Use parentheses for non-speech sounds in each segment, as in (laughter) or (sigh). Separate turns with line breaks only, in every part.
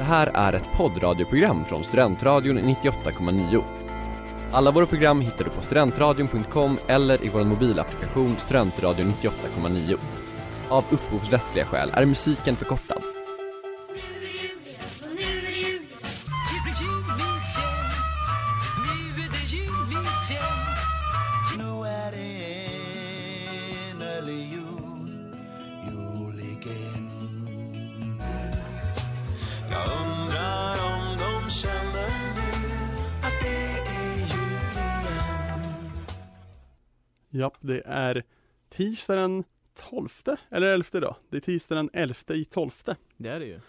här är ett poddradioprogram från Studentradion 98,9. Alla våra program hittar du på studentradion.com eller i vår mobilapplikation Studentradion 98,9. Av upphovsrättsliga skäl är musiken förkortad.
Japp, det är tisdag den 12, eller 11 idag. Det är tisdag den 11 i 12.
Det är det ju.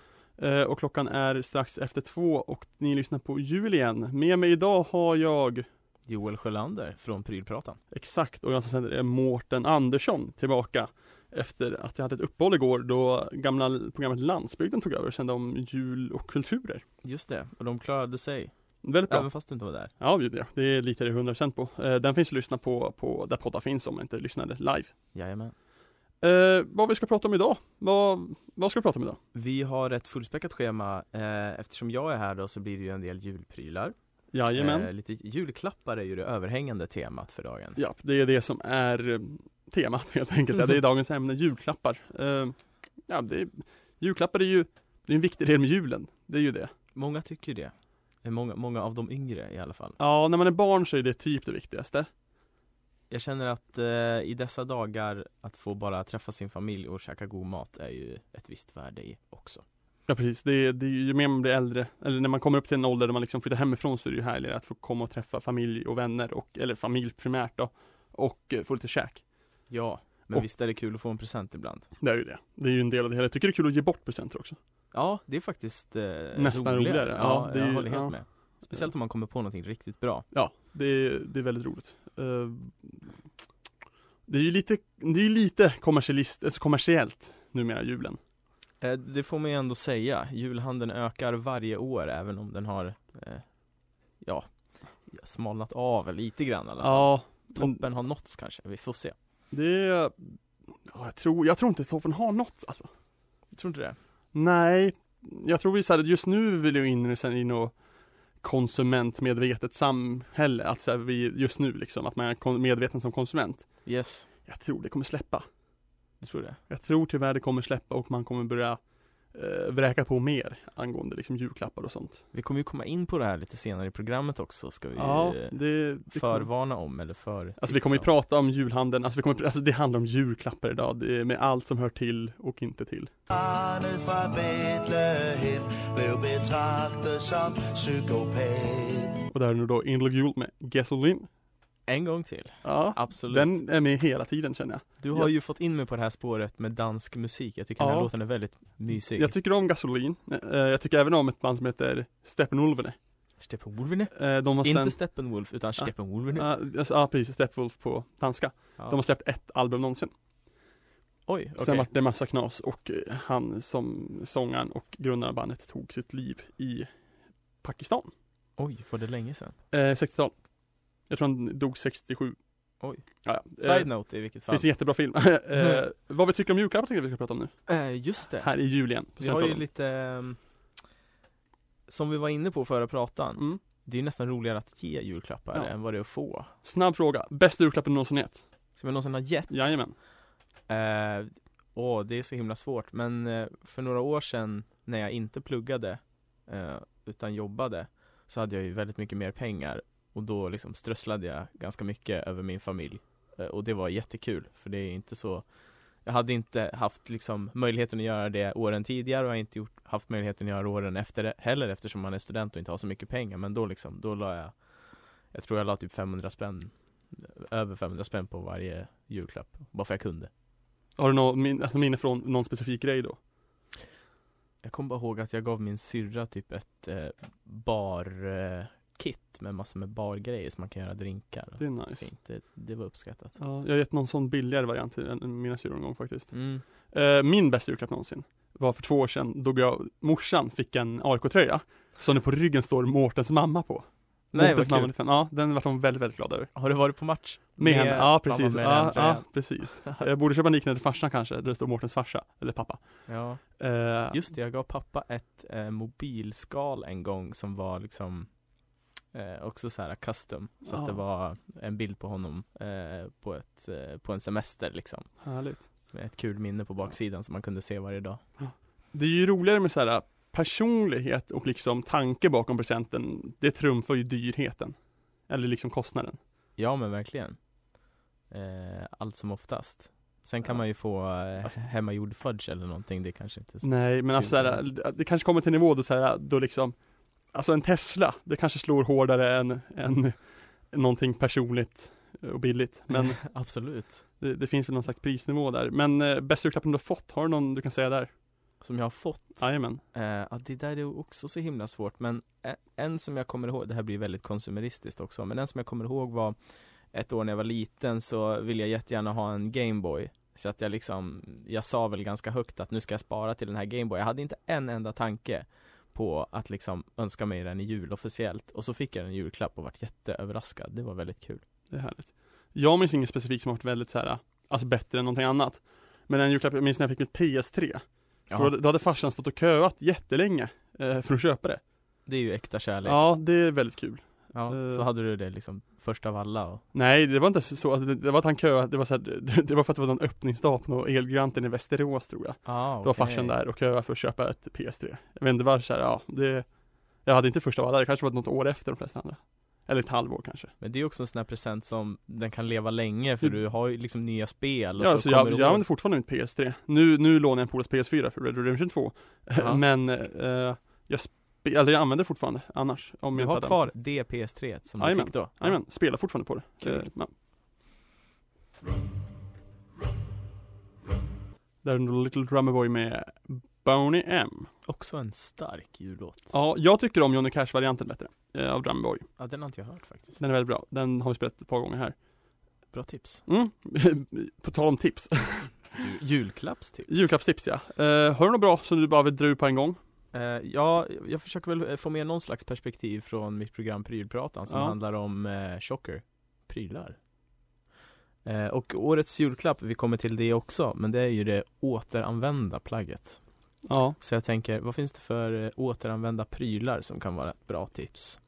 Eh, och klockan är strax efter två och ni lyssnar på jul igen. Med mig idag har jag
Joel Sjölander från Prylpratan.
exakt och jag som sänder är Mårten Andersson tillbaka. Efter att jag hade ett uppehåll igår då gamla programmet Landsbygden tog över och sände om jul och kulturer.
Just det, och de klarade sig.
Väldigt bra.
Även fast du inte var där.
Ja, det- det litar jag 100% på. Eh, Den finns att lyssna på, på där poddar finns om man inte lyssnade live.
Jajamän.
Eh, vad vi ska prata om idag? Vad, vad ska vi prata om idag?
Vi har ett fullspäckat schema. Eh, eftersom jag är här då så blir det ju en del julprylar.
Jajamän.
Eh, lite julklappar är ju det överhängande temat för dagen.
Ja, det är det som är eh, temat helt enkelt. Ja, det är
Mm-hmm.
dagens ämne, julklappar. Eh, ja, det är, julklappar är ju det är en viktig del med julen. Det är ju det.
Många tycker det. Eh, Många, många av de yngre i alla fall.
Ja, när man är barn så är det typ det viktigaste.
Jag känner att eh, i dessa dagar, att få bara träffa sin familj och käka god mat är ju ett visst värde i också.
Ja, precis. Det är, det är, ju ju mer man blir äldre, eller när man kommer upp till en ålder där man liksom flyttar hemifrån så är det ju härligare att få komma och träffa familj och vänner, och, eller familj primärt då, och eh, få lite käk.
Ja, men
Och-
visst är det kul att få en present ibland.
Det är ju det. Det är ju en del av det hela. Jag tycker det är kul att ge bort presenter också.
Ja, det är faktiskt eh,
Nästan roligare.
Ja,
Ja, det är
jag
ju-
håller helt
ja.
med. Speciellt om man kommer på någonting riktigt bra.
Ja, det är, det är väldigt roligt. Eh, Det är ju lite, det är ju lite kommersialist, alltså kommersiellt numera, julen.
Eh, det får man ju ändå säga. Julhandeln ökar varje år även om den har, eh, ja, smalnat av lite grann i alla fall.
Ja, men
Toppen har nåtts kanske, vi får se.
det är, ja, jag, tror, jag tror inte toppen har något alltså.
Jag tror inte det.
Nej, jag tror vi så här, just nu vill jag in i sen i något konsumentmedvetet samhälle, alltså vi, just nu liksom, att man är kon- medveten som konsument.
Yes,
Jag tror det kommer släppa.
du tror det.
Jag tror tyvärr det kommer släppa och man kommer börja eh, vräka på mer angående liksom julklappar och sånt.
Vi kommer ju komma in på det här lite senare i programmet också, ska vi
Ja,
eh, liksom.
det, det kommer,
förvarna om eller för
Alltså vi kommer ju
tipsa om.
prata om julhandeln, alltså, vi kommer, alltså det handlar om julklappar idag, det är med allt som hör till och inte till.
Barnet fra Bethlehem blev betragtet som psykopat.
Och där är nu då In Love Jul med Gasoline.
En gång till,
Ja,
absolut.
den är med hela tiden känner jag.
Du har
Ja.
ju fått in mig på det här spåret med dansk musik, jag tycker den
Ja.
här låten är väldigt mysig
Jag tycker om Gasoline, Eh, jag tycker även om ett band som heter Steppenwolvene.
Steppenwolvene?
Eh, De har sen,
Inte Steppenwolf, utan Steppenwolvene
Ja, alltså, ja precis, Steppenwolf på danska.
ja.
De har släppt ett album någonsin.
Oj, okej
Sen vart det massa knas och eh, han som sångaren och grundaren av bandet tog sitt liv i Pakistan.
Oj, var det länge sedan?
Eh, 60-tal. Jag tror han dog 67.
Oj.
Ja, ja. Eh,
Side note Mm. i vilket fall
finns en jättebra film. (laughs) eh, vad vi tycker om julklappar tänkte jag vi ska prata om nu.
eh, Just det,
Här i jul igen. på
vi har ju
Centralen.
lite ehm, Som vi var inne på förra pratan
Mm.
Det är nästan roligare att ge julklappar
Ja.
än vad det är att få
Snabb fråga. Bästa julklappen du någonsin gett?
Som jag någonsin har gett
Jajamän.
Eh, Åh, det är så himla svårt, men eh, för några år sedan när jag inte pluggade eh, utan jobbade så hade jag ju väldigt mycket mer pengar och då liksom strösslade jag ganska mycket över min familj eh, och det var jättekul för det är inte så jag hade inte haft liksom möjligheten att göra det åren tidigare och jag har inte gjort, haft möjligheten att göra det åren efter det heller eftersom man är student och inte har så mycket pengar men då liksom, då la jag Jag tror jag la typ 500 spänn Över 500 spänn på varje julklapp, bara för jag kunde
Har du något min- alltså minne från någon specifik grej då?
Jag kommer bara ihåg att jag gav min syrra typ ett eh, bar eh, kit med massor med bargrejer som man kan göra drinkar.
Det är nice.
Fint. Det, det var uppskattat.
Ja, jag har gett någon sån billigare variant till en- en mina syrror en gång faktiskt.
Mm.
Eh, min bästa julklapp någonsin var för två år sedan då jag, morsan fick en AIK-tröja som det på ryggen står Mårtens mamma på.
Nej,
Moped
vad
som
kul.
använde fan- Ja, den var de väldigt, väldigt glad över.
Har du varit på match?
Med henne, ja precis.
Med
Ja,
ja, (laughs)
ja, precis. Jag borde köpa en liknande till farsan kanske, där det står Mårtens farsa, eller pappa.
ja.
Eh,
Just det, jag gav pappa ett eh, mobilskal en gång som var liksom eh, också så här custom. Så
Ja.
att det var en bild på honom eh, på, ett, eh, på en semester liksom.
Härligt.
Med ett kul minne på baksidan som man kunde se varje dag.
Det är ju roligare med så här äh, personlighet och liksom tanke bakom presenten. Det trumfar ju dyrheten. Eller liksom kostnaden.
Ja men verkligen. Eh, allt som oftast. Sen kan
Ja.
man ju få eh,
Alltså-
hemmagjord fudge eller någonting, det
(laughs)
kanske inte är så.
Nej, men alltså så här, det kanske kommer till en nivå då så här, då liksom Alltså en Tesla, det kanske slår hårdare än, än (laughs) någonting personligt och billigt. Men (laughs)
Absolut.
det, det finns väl någon slags prisnivå där. Men eh, bästa julklappen du har fått, har du någon du kan säga där?
Som jag har fått.
Jajamän.
Eh, ja, det där är också så himla svårt, men e- en som jag kommer ihåg, det här blir väldigt konsumeristiskt också, men en som jag kommer ihåg var ett år när jag var liten så ville jag jättegärna ha en Gameboy. Så att jag liksom, jag sa väl ganska högt att nu ska jag spara till den här Gameboy. Jag hade inte en enda tanke på att liksom önska mig den i jul officiellt. Och så fick jag den i julklapp och vart jätteöverraskad. Det var väldigt kul.
Det är härligt. Jag minns inget specifikt som har varit väldigt så här, alltså bättre än någonting annat. Men en julklapp jag minns när jag fick mitt PS3. För då hade farsan stått och köat jättelänge eh, för att köpa det.
Det är ju äkta kärlek.
Ja, det är väldigt kul.
Ja,
eh.
så hade du det liksom först av alla och
Nej, det var inte så, alltså, det, det var att han köade, det var så här, (laughs) det, det var för att det var någon öppningsdag på någon Elgiganten i Västerås tror jag.
ah,
Då var farsan där och köade för att köpa ett PS3. Jag vet inte varför, så här, ja, det, jag hade inte först av alla, det kanske var något år efter de flesta andra. Eller ett halvår kanske.
Men det är också en sån här present som den kan leva länge för
Det-
du har ju liksom nya spel och
Ja,
så,
så
kommer
jag,
du
jag
ihåg-
använder fortfarande mitt PS3. Nu, nu lånar jag en polares PS4 för Red Dead Redemption (laughs) 2.
Ja.
Men eh, jag, spe- eller jag använder fortfarande annars. Om
Du
jag inte
har
hade
kvar det PS3 som du
Jajamän.
fick då?
den. Jajamän, spelar fortfarande på det.
Kul.
Eh, ja. Där är nog Little Drummer Boy med Boney M.
Också en stark jullåt
Ja, jag tycker om Johnny Cash-varianten bättre. eh, Av Drummer Boy.
Ja, den har inte jag hört faktiskt
Den är väldigt bra. Den har vi spelat ett par gånger här.
Bra tips
Mm. (laughs) på tal om tips. (laughs)
Julklappstips
Julklappstips ja. Eh, har du något bra som du bara vill dra ur på en gång?
Eh, Ja, jag försöker väl eh, få med någon slags perspektiv från mitt program Prylpratan som
Ja.
handlar om eh, chocker, prylar eh, Och årets julklapp, vi kommer till det också, men det är ju det återanvända plagget
Ja.
Så jag tänker, vad finns det för eh, återanvända prylar som kan vara ett bra tips?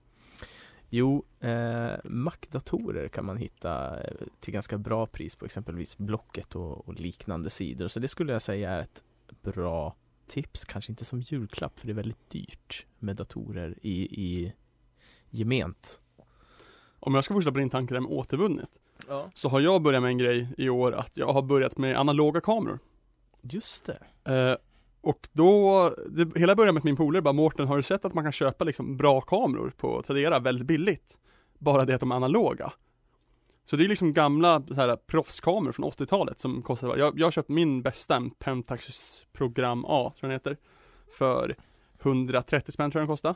Jo, eh, Mac-datorer kan man hitta eh, till ganska bra pris på exempelvis Blocket och, och liknande sidor. Så det skulle jag säga är ett bra tips, kanske inte som julklapp för det är väldigt dyrt med datorer i, i gement.
Om jag ska fortsätta på din tanke där med återvunnet Så har jag börjat med en grej i år att jag har börjat med analoga kameror
Just det.
eh, Och då, det hela började med att min polare bara Mårten har du sett att man kan köpa liksom bra kameror på Tradera väldigt billigt? Bara det att de är analoga Så det är liksom gamla så här, proffskameror från 80-talet som kostar jag, jag har köpt min bästa, en Pentax program A tror jag den heter För 130 spänn tror jag den kostade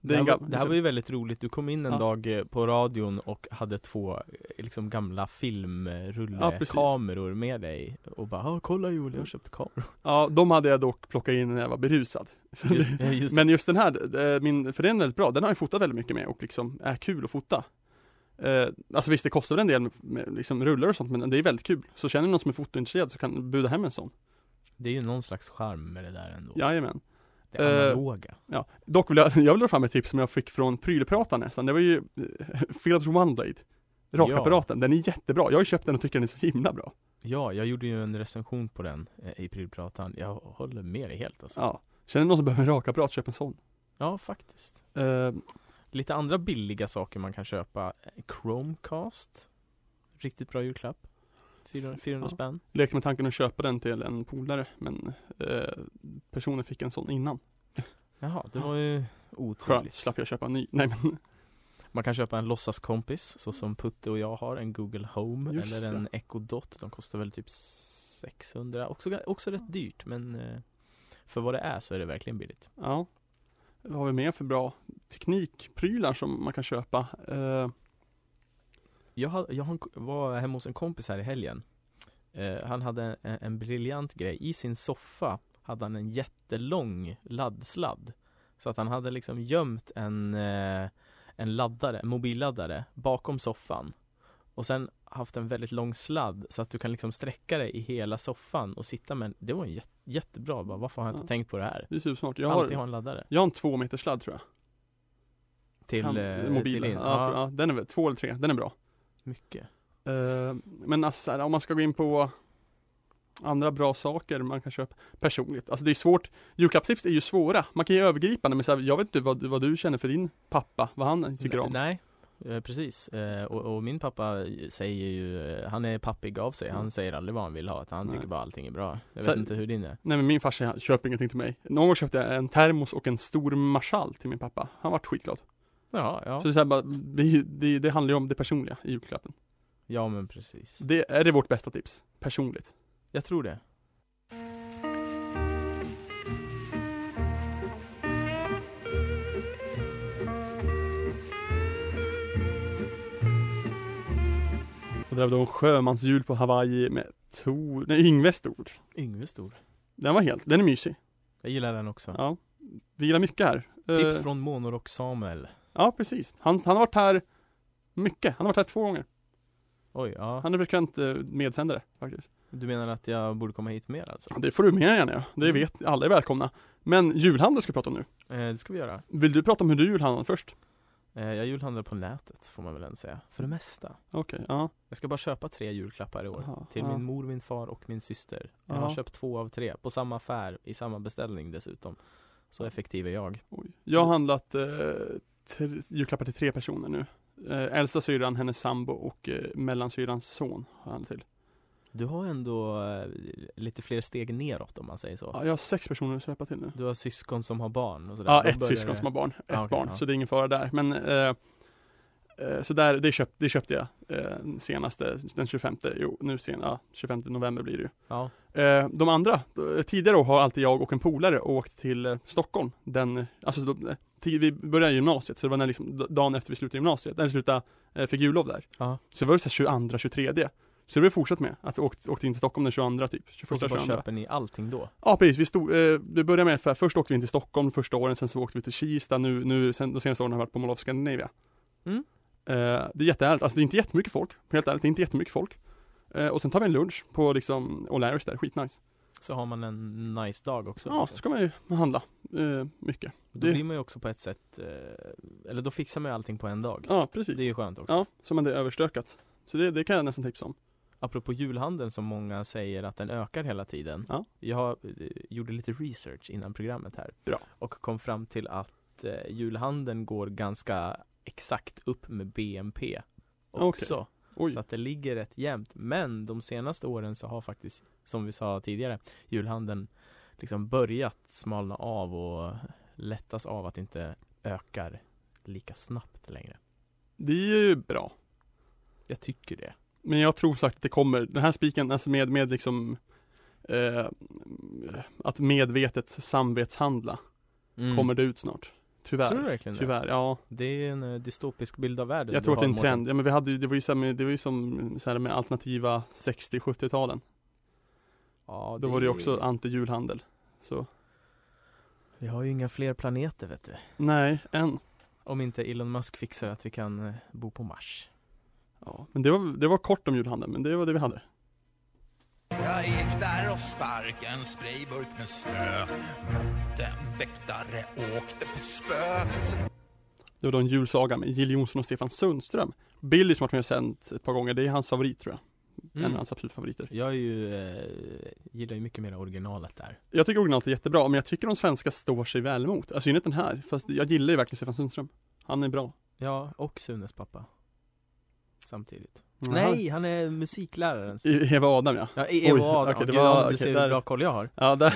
Det, här
en
var,
gam-
det här var ju väldigt roligt. Du kom in en
Ja.
dag eh, på radion och hade två eh, liksom gamla
Ja, precis.
filmrullekameror med dig och bara "Ah, kolla Joel, jag har köpt kameror.
Ja, de hade jag dock plockat in när jag var berusad Så det-
Just, eh, just,
Men just den här, eh, min, för den är väldigt bra, den har jag fotat väldigt mycket med och liksom är kul att fota. Eh, alltså visst det kostar väl en del med liksom rullar och sånt men det är väldigt kul. Så känner ni någon som är fotointresserad så kan du buda hem en sån.
det är ju någon slags charm med det där ändå.
Jajamän.
det
eh,
analoga.
Ja. Dock vill jag, (laughs) jag vill dra fram ett tips som jag fick från Prylprataren nästan. Det var ju eh, (laughs) Philips OneBlade. Rakapparaten, den är jättebra. Jag har ju köpt den och tycker den är så himla bra.
Ja, jag gjorde ju en recension på den eh, i Prylpratan. Jag håller med dig helt alltså. Ja,
Ja. Känner ni någon som behöver en rakapparat, köp en sån.
faktiskt.
Eh,
Lite andra billiga saker man kan köpa. Eh, Chromecast. Riktigt bra julklapp. 400, 400
Ja.
spänn.
lekte med tanken att köpa den till en polare men eh, personen fick en sån innan.
Jaha, det var ju
Skönt,
otroligt.
slapp jag köpa en ny. Nej men
Man kan köpa en låtsaskompis, så som Putte och jag har, en Google Home
Just
eller
det.
en Echo Dot. De kostar väl typ 600, också, ga- också rätt dyrt men eh, för vad det är så är det verkligen billigt.
Ja. Vad har vi mer för bra teknikprylar som man kan köpa? Eh,
Jag, ha, jag har en ko- var hemma hos en kompis här i helgen. Eh, han hade en, en briljant grej. I sin soffa hade han en jättelång laddsladd. Så att han hade liksom gömt en, eh, en laddare, en mobilladdare, bakom soffan och sen haft en väldigt lång sladd så att du kan liksom sträcka dig i hela soffan och sitta med en, det var en jä- jättebra bara, varför har jag inte
Ja.
tänkt på det här?
Det är supersmart. Jag
Jag
har,
Alltid ha en laddare
jag har en två meter sladd tror jag.
till,
Kan-
eh,
mobilen.
till in.
ja,
Ja,
ja, den är väl två eller tre, den är bra.
mycket
Eh, men alltså, så här, om man ska gå in på andra bra saker man kan köpa personligt. Alltså det är svårt. Julklappstips är ju svåra. Man kan ge övergripande men så här, jag vet inte vad, vad du känner för din pappa, vad han tycker om.
Nej, eh, precis. Eh, Och, och min pappa säger ju, eh, han är pappig av sig,
Mm.
han säger aldrig vad han vill ha, utan han
Nej.
tycker bara allting är bra. Jag
Så-
vet inte hur din är.
Nej men min farsa han köper ingenting till mig. Någon gång köpte jag en termos och en stor marschall till min pappa. Han vart skitglad.
Ja, ja.
Så det, är så här, bara, det, det, det handlar ju om det personliga i julklappen.
ja men precis.
Det är det vårt bästa tips. Personligt.
Jag tror det.
Och där var då en sjömansjul på Hawaii med Tor, nej Yngves ord.
Yngve Stor.
Den var helt, den är mysig.
Jag gillar den också.
Ja. Vi gillar mycket här.
Tips
Eh,
från Monorock Samuel.
Ja, precis. Han, han har varit här mycket. Han har varit här två gånger.
Oj, ja.
Han är frekvent eh, medsändare faktiskt.
Du menar att jag borde komma hit mer alltså?
Ja, Det får du med gärna göra.
Mm.
Det vet alla är välkomna. Men julhandel ska vi prata om nu.
Eh, det ska vi göra.
Vill du prata om hur du julhandlar först?
Eh, jag julhandlar på nätet, får man väl ändå säga. För det mesta.
Okej, ja.
Jag ska bara köpa tre julklappar i år.
Aha,
Till
ja.
min mor, min far och min syster. Jag
Ja.
har köpt två av tre, på samma affär, i samma beställning dessutom. Så effektiv är jag.
Oj. Jag har handlat eh, tre, julklappar till tre personer nu. Eh, äldsta syrran, hennes sambo och eh, mellansyrrans son har jag handlat till.
Du har ändå eh, lite fler steg neråt om man säger så.
Ja, jag har sex personer att köpa till nu.
Du har syskon som har barn och sådär.
Ja,
Då
ett
börjar
syskon
det-
som har barn. Ett
Ja, okej,
barn,
ja.
så det är ingen fara där. Men eh, eh, så där, det, köpt, det köpte jag eh, senaste, den 25, jo nu sen, ja, 25 november blir det ju.
Ja,
Eh, de andra, eh, tidigare år har alltid jag och en polare åkt till eh, Stockholm. Den, alltså, då, eh, ti- vi började gymnasiet, så det var när, liksom, d- dagen efter vi slutade gymnasiet, eller slutade, eh, fick jullov där.
Ja.
Så det var det 22, 23. Så det har vi fortsatt med, att vi åkt, åkte in till Stockholm den 22 typ, 21,
och så bara
22.
köper ni allting då.
Ja precis, vi, stod, eh, vi började med för först åkte vi in till Stockholm första åren, sen så åkte vi till Kista nu, nu sen, de senaste åren har vi varit på Mall of Scandinavia.
Mm.
Eh, det är jättehärligt, alltså det är inte jättemycket folk, helt ärligt, det är inte jättemycket folk. Eh, och sen tar vi en lunch på liksom O'Larrys där, skitnice.
Så har man en nice dag också.
Ja, så
liksom.
ska man ju handla eh, mycket.
Då
det-
blir man ju också på ett sätt, eh, eller då fixar man ju allting på en dag.
Ja, precis.
Det är ju skönt också.
Ja, så man det är överstökat. Så det, det kan jag nästan tipsa om.
Apropå julhandeln som många säger att den ökar hela tiden.
Ja.
Jag eh, gjorde lite research innan programmet här.
Bra.
Och kom fram till att eh, julhandeln går ganska exakt upp med BNP
Okej.
också.
Oj,
Så att det ligger rätt jämnt. Men de senaste åren så har faktiskt, som vi sa tidigare, julhandeln liksom börjat smalna av och lättas av att inte ökar lika snabbt längre.
det är ju bra.
Jag tycker det.
Men jag tror sagt att det kommer, den här spiken, alltså med, med liksom eh, att medvetet samvetshandla kommer det ut snart. Tyvärr.
Mm. Tror du verkligen det?
Tyvärr, ja.
Det är en eh, dystopisk bild av världen
Jag
du
tror att det är en
har,
trend. Ja, men vi hade ju, det var ju, så här med, det var ju som så här med alternativa 60-70-talen.
Ja,
Då var det ju också anti-julhandel. Så,
Vi har ju inga fler planeter vet du.
nej, än.
Om inte Elon Musk fixar att vi kan eh, bo på Mars.
Ja. Men det var, det var kort om julhandeln, men det var det vi hade.
Jag gick där och spark en sprayburk med snö Mötte en väktare, åkte på spö Sen
Det var då en julsaga med Jill Johnson och Stefan Sundström. Billy som har varit med och sänt ett par gånger, det är hans favorit tror jag.
Mm.
En av hans absolut favoriter.
Jag är ju, eh, gillar ju mycket mer originalet där.
Jag tycker originalet är jättebra, men jag tycker de svenska står sig väl emot. Alltså i synnerhet den här, fast jag gillar ju verkligen Stefan Sundström. Han är bra.
Ja, och Sunes pappa. Samtidigt.
Jaha.
Nej, han är musikläraren.
I- Eva Adam ja.
Ja, i- Eva
Oj,
Adam.
okej, det
Gud,
var-
ja,
okej,
du ser
där-
hur bra koll jag har.
Ja, där.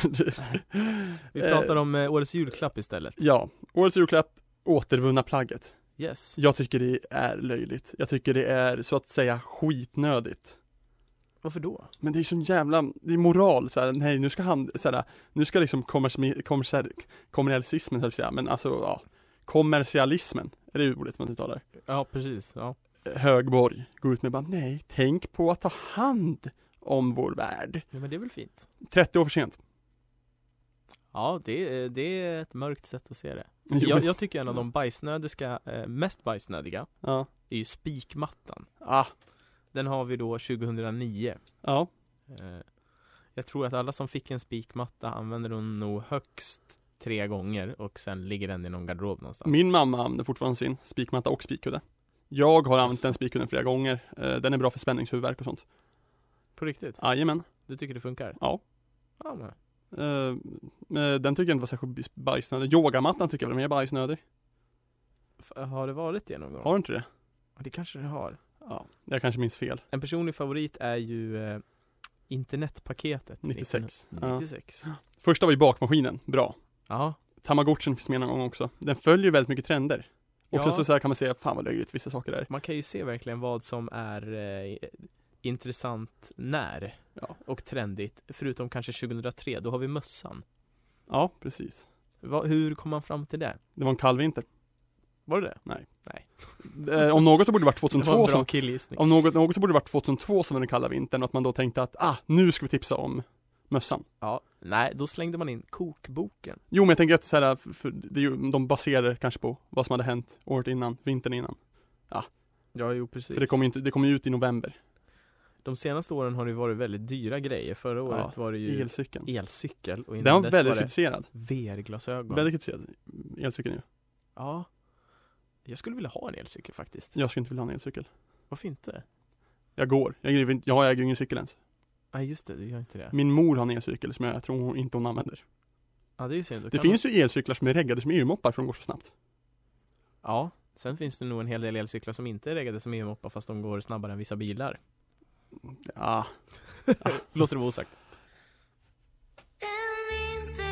(laughs) Vi
Eh,
pratar om eh, årets julklapp istället.
Ja, årets julklapp, återvunna plagget.
Yes.
Jag tycker det är löjligt. Jag tycker det är så att säga skitnödigt.
Varför då?
Men det är sån jävla, det är moral så här, nej nu ska han, så här, nu ska liksom kommersmi- kommersiell- kommersialismen, höll jag på att säga, men alltså ja, kommersialismen, är det ordet man uttalar?
Ja, precis. Ja.
Eh, Högborg, går ut med bara, nej, tänk på att ta hand om vår värld.
ja, men det är väl fint.
30 år för sent.
Ja, det, eh, det är ett mörkt sätt att se det.
(laughs) Jo,
Jag,
men-
jag tycker en av de bajsnödiska, eh, mest bajsnödiga,
Ja.
är ju spikmattan.
Ah,
Den har vi då 2009.
ja.
Eh, Jag tror att alla som fick en spikmatta använder den nog högst tre gånger och sen ligger den i någon garderob någonstans.
Min mamma använder fortfarande sin spikmatta och spikkudde. Jag har använt den spikkudden flera gånger. Eh, Den är bra för spänningshuvudvärk och sånt.
På riktigt?
Jajamän.
Du tycker det funkar?
Ja.
Ja, men.
Eh, eh, Den tycker jag inte var särskilt bajsnödig. Yogamattan tycker jag väl är mer bajsnödig.
F- Har det varit det någon gång?
Har du inte det?
Ja, Det kanske det har.
Ja, jag kanske minns fel.
En personlig favorit är ju eh, internetpaketet.
96. Ja.
96. Ja.
Första var ju bakmaskinen. Bra.
ja.
Tamagotchen finns med någon gång också. Den följer ju väldigt mycket trender. Och sen så, så här kan man säga, fan vad löjligt vissa saker är.
Man kan ju se verkligen vad som är eh, intressant när
Ja.
och trendigt. Förutom kanske 2003, då har vi mössan.
Ja, precis.
Va, hur kom man fram till det?
Det var en kall vinter.
Var det det?
Eh, om något så borde det varit
det var
2002
en bra
som,
killgissning.
om något, något så borde det varit 2002 som var den kalla vintern och att man då tänkte att, ah, nu ska vi tipsa om mössan.
Ja, nej, då slängde man in kokboken.
Jo men jag tänker att så här, för, för det är ju, de baserar det kanske på vad som hade hänt året innan, vintern innan.
Ja, jo precis.
För det kommer ju inte, det kommer ju ut i november,
De senaste åren har det varit väldigt dyra grejer. Förra året var det ju
elcykeln.
elcykel och
Den
innan
var
dess
väldigt
var det
kritiserad.
VR-glasögon.
Väldigt kritiserad, elcykeln ju.
Ja. Jag skulle vilja ha en elcykel faktiskt.
Jag skulle inte vilja ha en elcykel.
Varför inte?
Jag går, jag, äger inte- jag äger ju ingen cykel ens.
Nej just det, du gör inte det.
Min mor har en elcykel som jag tror hon inte hon använder.
Ja det är ju synd. Då
Det
kan
finns ju elcyklar som är reggade som EU-moppar för de går så snabbt.
man... Ja. Sen finns det nog en hel del elcyklar som inte är reggade som E EU-moppar fast de går snabbare än vissa bilar.
Ja,
Låter det vara osagt.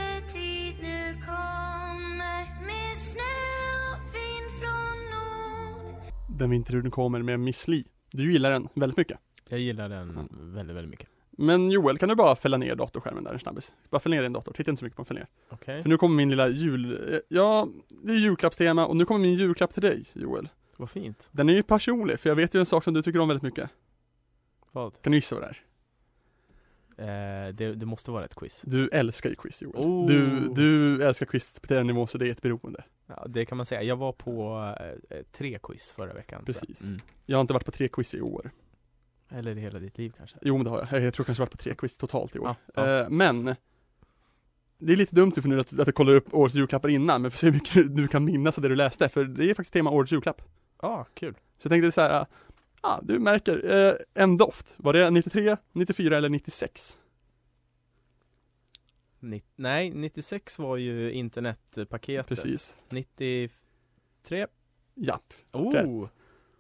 En vintertid nu kommer med snö och vind från nord.
den vinterhuden kommer med Miss Li. Du gillar den väldigt mycket.
Jag gillar den
Mm.
väldigt, väldigt mycket.
Men Joel, kan du bara fälla ner datorskärmen där en snabbis? Bara fäll ner din dator, titta inte så mycket på den, fäll ner.
Okej.
För nu kommer min lilla jul... eh, Ja, det är julklappstema och nu kommer min julklapp till dig, Joel.
Vad fint.
Den är ju personlig, för jag vet ju en sak som du tycker om väldigt mycket.
Vad?
Kan du gissa vad det är?
Eh, det, det måste vara ett quiz.
Du älskar ju quiz, Joel.
Oh.
Du, du älskar quiz på den nivån, så det är ett beroende.
Ja, det kan man säga. Jag var på eh, tre quiz förra veckan. tror jag.
Precis.
Mm.
Jag har inte varit på tre quiz i år.
Eller i hela ditt liv kanske.
Jo, men det har jag. Jag tror kanske jag har varit på tre quiz totalt i år.
Ja, ja.
Eh, men det är lite dumt för nu att, att du kollar upp årets julklappar innan, men för att se hur mycket du kan minnas av det du läste, för det är faktiskt tema årets julklapp.
Ja, ah, kul.
Så jag tänkte så här, ah, du märker, eh, en doft, var det 93, 94 eller 96?
Ni- nej, 96 var ju internetpaketet.
Precis.
93.
Japp.
Oh!
Rätt.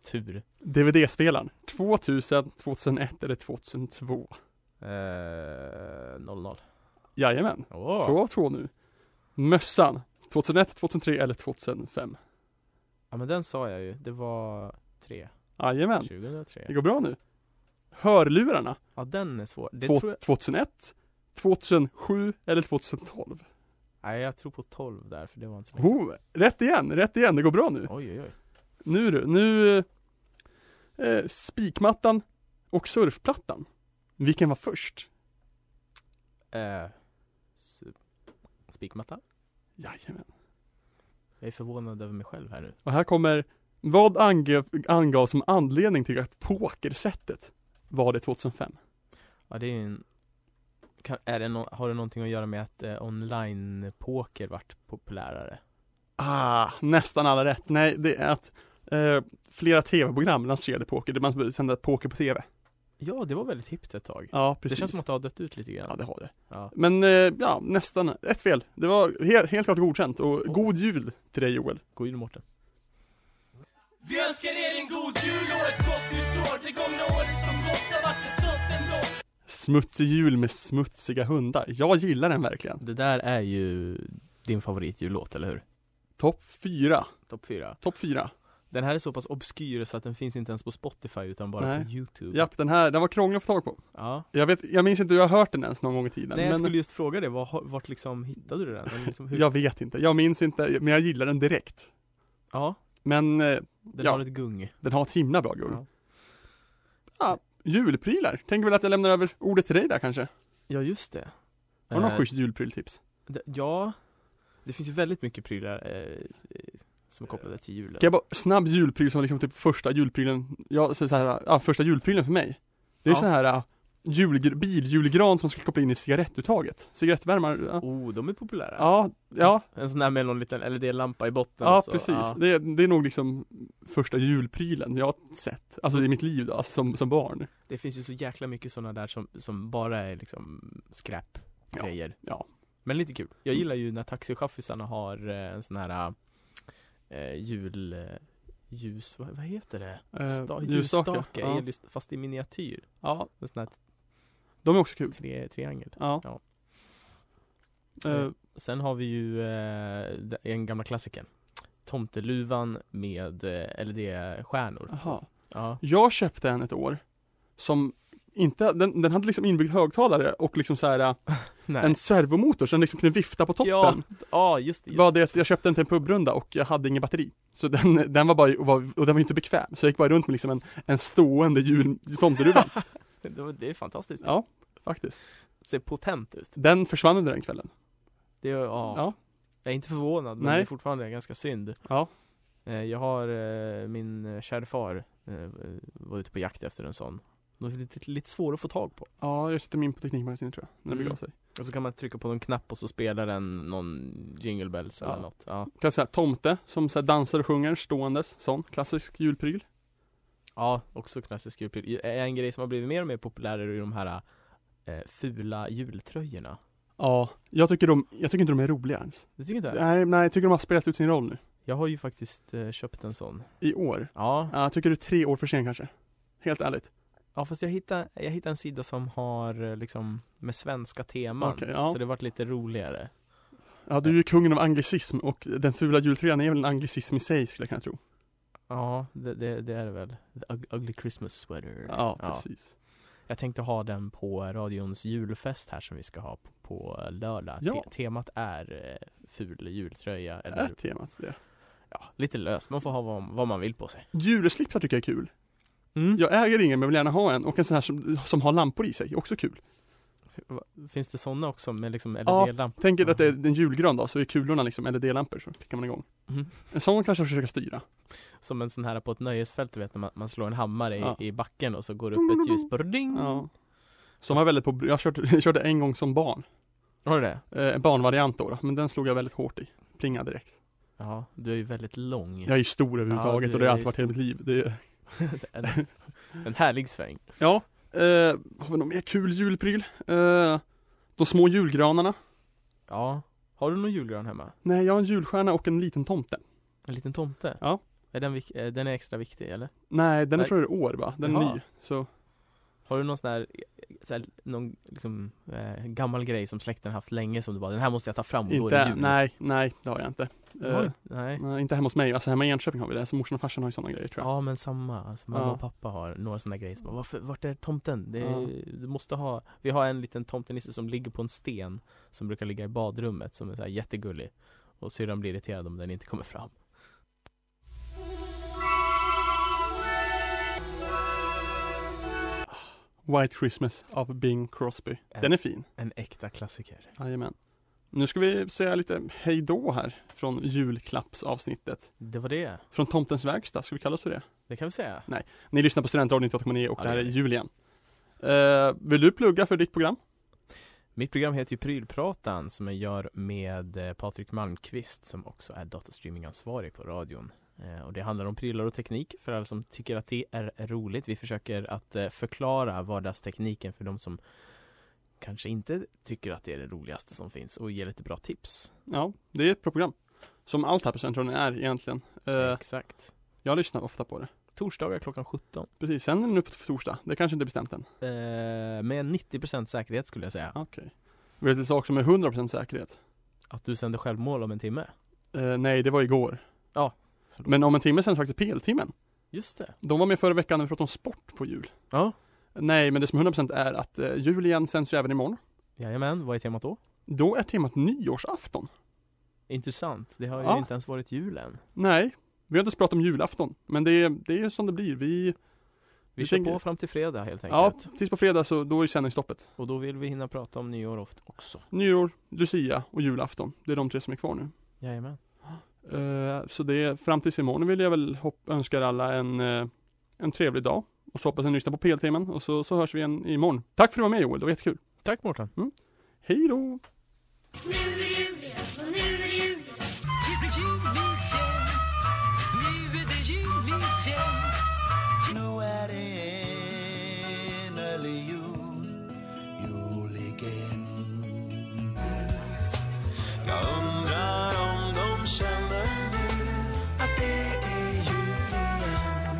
Tur.
DVD-spelaren, 2000, 2001 eller 2002?
Eh, 00.
Jajamän,
Åh.
två av två nu. Mössan, 2001, 2003 eller 2005?
Ja men den sa jag ju. Det var 3.
Jajamän,
2003.
det går bra nu. Hörlurarna,
Ja den är svår. Det
Två-
tror jag...
2001, 2007 eller 2012?
Nej jag tror på 12 där för det var inte så länge
Oh, rätt igen, rätt igen, det går bra nu.
sedan. Oj oj oj.
Nu du, nu... Eh, spikmattan och surfplattan. Vilken var först?
Eh, su- spikmatta.
Jajamän.
Jag är förvånad över mig själv här nu.
Och här kommer, vad angav, angavs som anledning till att pokersättet var det 2005?
Ja det är ju en... Kan, är det nå- har det någonting att göra med att eh, online-poker vart populärare?
Ah, nästan alla rätt. Nej, det är att eh, flera tv-program lanserade poker, där man sände poker på tv.
Ja det var väldigt hippt ett tag.
Ja, precis.
Det känns som att det har dött ut lite grann.
Ja, det har det.
Ja.
Men eh, ja, nästan. Ett fel. Det var he- helt klart godkänt och god jul till dig Joel.
God jul Mårten.
Vi önskar er en god jul och ett gott nytt år Det gångna året som gått har varit ett sånt ändå
Smutsig jul med smutsiga hundar. Jag gillar den verkligen.
Det där är ju din favoritjullåt, eller hur?
Topp fyra.
Topp 4
Topp fyra.
Den här är så pass obskyr så att den finns inte ens på Spotify utan bara
Nej.
på Youtube
Japp, den här, den var krånglig att få tag på.
Ja.
Jag vet, jag minns inte hur jag har hört den ens någon gång i tiden.
Nej jag
men
skulle just fråga det, var, har- vart liksom hittade du den? den liksom, hur...
Jag vet inte. Jag minns inte, men jag gillar den direkt.
ja,
Men eh,
den
Ja.
har ett gung
den har ett himla bra guld.
Ja.
Julprylar. Tänker väl att jag lämnar över ordet till dig där kanske.
Ja just det
Har du någon
Eh,
schysst julpryltips?
d- ja, det finns ju väldigt mycket prylar eh, eh, som är kopplade till julen.
Kan jag bara, snabb julpryl som liksom typ första julprylen, ja så så här, ja första julprylen för mig Det är
Ja.
så här äh, julgr- biljulgran som man skulle koppla in i cigarettuttaget, cigarettvärmare ja.
Oh, de är populära.
Ja, ja,
En sån där med någon liten LED-lampa i botten.
ja
så,
precis.
ja.
Det, är- det är nog liksom första julprylen jag har sett, alltså i mitt liv då, alltså som, som barn.
Det finns ju så jäkla mycket sådana där som, som bara är liksom skräp grejer.
ja.
Men lite kul. Jag gillar ju när taxichaffisarna har eh, en sån här eh, jul, eh, ljus, vad, vad heter det?
Eh,
Sta-
ljusstake,
ljusstake,
ja.
ellys- fast i miniatyr.
Ja,
En sån här
de är också kul.
tre, triangel.
Ja.
Ja.
Eh,
Sen har vi ju eh, d- en gamla klassiker. Tomteluvan med eh, LED-stjärnor.
Aha.
Ja.
Jag köpte en ett år som inte, den, den hade liksom inbyggd högtalare och liksom så här äh,
Nej.
en servomotor så den liksom kunde vifta på toppen.
Ja, ja, just det.
Det
Just.
var det att jag köpte den till en pubrunda och jag hade ingen batteri. Så den, den var bara, och, var, och den var ju inte bekväm. Så jag gick bara runt med liksom en, en stående jul, tomteluva.
(laughs) det. Det, var, det är fantastiskt.
ja, faktiskt.
Det ser potent ut.
Den försvann under den kvällen.
Det är, ja.
Ja.
Jag är inte förvånad, men
Nej.
det är fortfarande ganska synd.
Ja.
Eh, Jag har, eh, min eh, kära far eh, var ute på jakt efter en sån. De är lite, lite svåra att få tag på.
Ja, jag köpte min på Teknikmagasinet tror jag. När det
Mm.
begav sig.
Och så kan man trycka på någon knapp och så spelar den någon jingle bells eller
Ja.
något. Ja.
Kan säga tomte som så här dansar och sjunger ståendes. Sån klassisk julpryl.
ja, också klassisk julpynt. En grej som har blivit mer och mer populär är ju de här eh, fula jultröjorna.
Ja, jag tycker, de, jag tycker inte de är roliga ens.
Du tycker inte det?
Nej, nej, jag tycker de har spelat ut sin roll nu.
Jag har ju faktiskt eh, köpt en sån.
I år.
Ja,
Ja, jag tycker du är tre år för sen kanske. Helt ärligt.
Ja fast jag hittade, jag hittade en sida som har eh, liksom med svenska teman
Okej, ja.
Så det vart lite roligare
Ja, du är ju kungen av anglicism och den fula jultröjan är väl en anglicism i sig skulle jag kunna tro.
Ja det, det, det är det väl The ug- Ugly Christmas sweater
Ja, precis.
Jag tänkte ha den på radions julfest här som vi ska ha på, på lördag
Ja.
Te- Temat är eh, ful jultröja
Är
eller
temat det?
ja, lite löst Man får ha vad, vad man vill på sig
Djurslipsar tycker jag är kul.
mm.
Jag äger ingen men vill gärna ha en och en sån här som, som har lampor i sig, också kul.
F- va- Finns det sådana också med liksom
Ja.
LED-lampor?
Tänk er att det är en julgran då, så är kulorna liksom LED-lampor så klickar man igång.
Mm.
En sån kanske jag försöker styra.
Som en sån här på ett nöjesfält du vet när man, man slår en hammare i,
Ja.
i backen och så går det upp ett ljus, ding!
Ja. Som var väldigt på, jag körde, (laughs) jag körde en gång som barn.
Har du det?
Eh, en barnvariant då, då, men den slog jag väldigt hårt i. Plingade direkt.
Ja, du är ju väldigt lång.
Jag är ju stor överhuvudtaget
Ja, du
och det har
är
alltid varit hela mitt liv. Det är,
(laughs) en, en härlig sväng.
ja. Eh, har vi någon mer kul julpryl? Eh, de små julgranarna.
Ja. Har du någon julgran hemma?
Nej, jag har en julstjärna och en liten tomte.
En liten tomte?
Ja.
Är den, vik- eh, den är extra viktig eller?
Nej, den är
Nej.
från i år va? Den är
Jaha. Mm,
ny. Så,
Har du någon sån här, eh, så här någon liksom, eh, gammal grej som släkten haft länge som du bara den här måste jag ta fram och då är det
inte,
jul?
nej, nej det har jag inte.
Du har
Eh,
ju- nej.
nej, inte hemma hos mig, alltså hemma i Enköping har vi det. Så morsan och farsan har ju sådana grejer tror jag.
Ja men samma, alltså, mamma
Ja.
och pappa har några sådana grejer som bara, varför, vart är tomten? Det,
Ja.
Du måste ha, vi har en liten tomtenisse som ligger på en sten Som brukar ligga i badrummet som är så här jättegullig Och syrran blir irriterad om den inte kommer fram
White Christmas av Bing Crosby.
Ja.
Den är fin.
En äkta klassiker
Jajamän. Nu ska vi säga lite hej då här från julklappsavsnittet.
Det var det,
Från Tomtens verkstad, ska vi kalla oss för det?
det kan vi säga
Ni lyssnar på Studentradion 98,9 och
Ja,
det här
det
är
gör vi.
jul igen. Eh, vill du plugga för ditt program?
Mitt program heter ju Prylpratan som jag gör med eh, Patrik Malmqvist som också är datastreamingansvarig på radion. Eh, Och det handlar om prylar och teknik för alla som tycker att det är roligt. Vi försöker att eh, förklara vardagstekniken för de som kanske inte tycker att det är det roligaste som finns och ge lite bra tips.
Ja, det är ett program. Som allt här på Studentradion är egentligen. Eh,
Exakt.
jag lyssnar ofta på det.
Torsdagar klockan 17.
Precis, sen är den uppe på torsdag. Det kanske inte är bestämt än.
Eh, Med 90% säkerhet skulle jag säga.
Okej. Vet du en sak som är 100% säkerhet?
Att du sänder självmål om en timme.
Eh, nej, det var igår.
Förlåt.
Men om en timme sänds faktiskt PL-timmen.
Just det.
De var med förra veckan när vi pratade om sport på jul.
Ja.
Nej, men det som är 100% är att eh, jul igen sänds ju även imorgon.
Jajamän, vad är temat då?
Då är temat nyårsafton.
Intressant. Det har ju
Ja.
inte ens varit julen.
Nej, vi har inte ens pratat om julafton. Men det är, det är ju som det blir. Vi,
Vi
Vi
kör
tänker-
på fram till fredag helt
Ja,
enkelt.
tills på fredag så då är sändningsstoppet.
Och då vill vi hinna prata om nyår ofta också.
Nyår, Lucia och julafton. Det är de tre som är kvar nu.
Jajamän.
Eh, så det, fram tills imorgon vill jag väl hopp, önska er alla en, eh, en trevlig dag. Och så hoppas ni lyssnar på PL-timmen och så, så hörs vi igen imorgon. Tack för att du var med Joel, det var jättekul.
Tack Mårten.
Hej då!
Nu är det jul igen, och nu är det jul igen.
Nu är det jul igen. Nu är det jul igen.
Nu är det enlig jul, jul igen. Jag undrar om de känner nu att det är jul igen.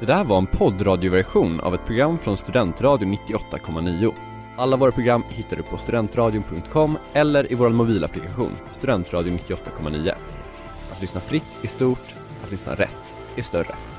Det där var en poddradioversion av ett program från Studentradion 98,9. Alla våra program hittar du på studentradion.com eller i vår mobilapplikation Studentradion 98,9. Att lyssna fritt är stort, att lyssna rätt är större.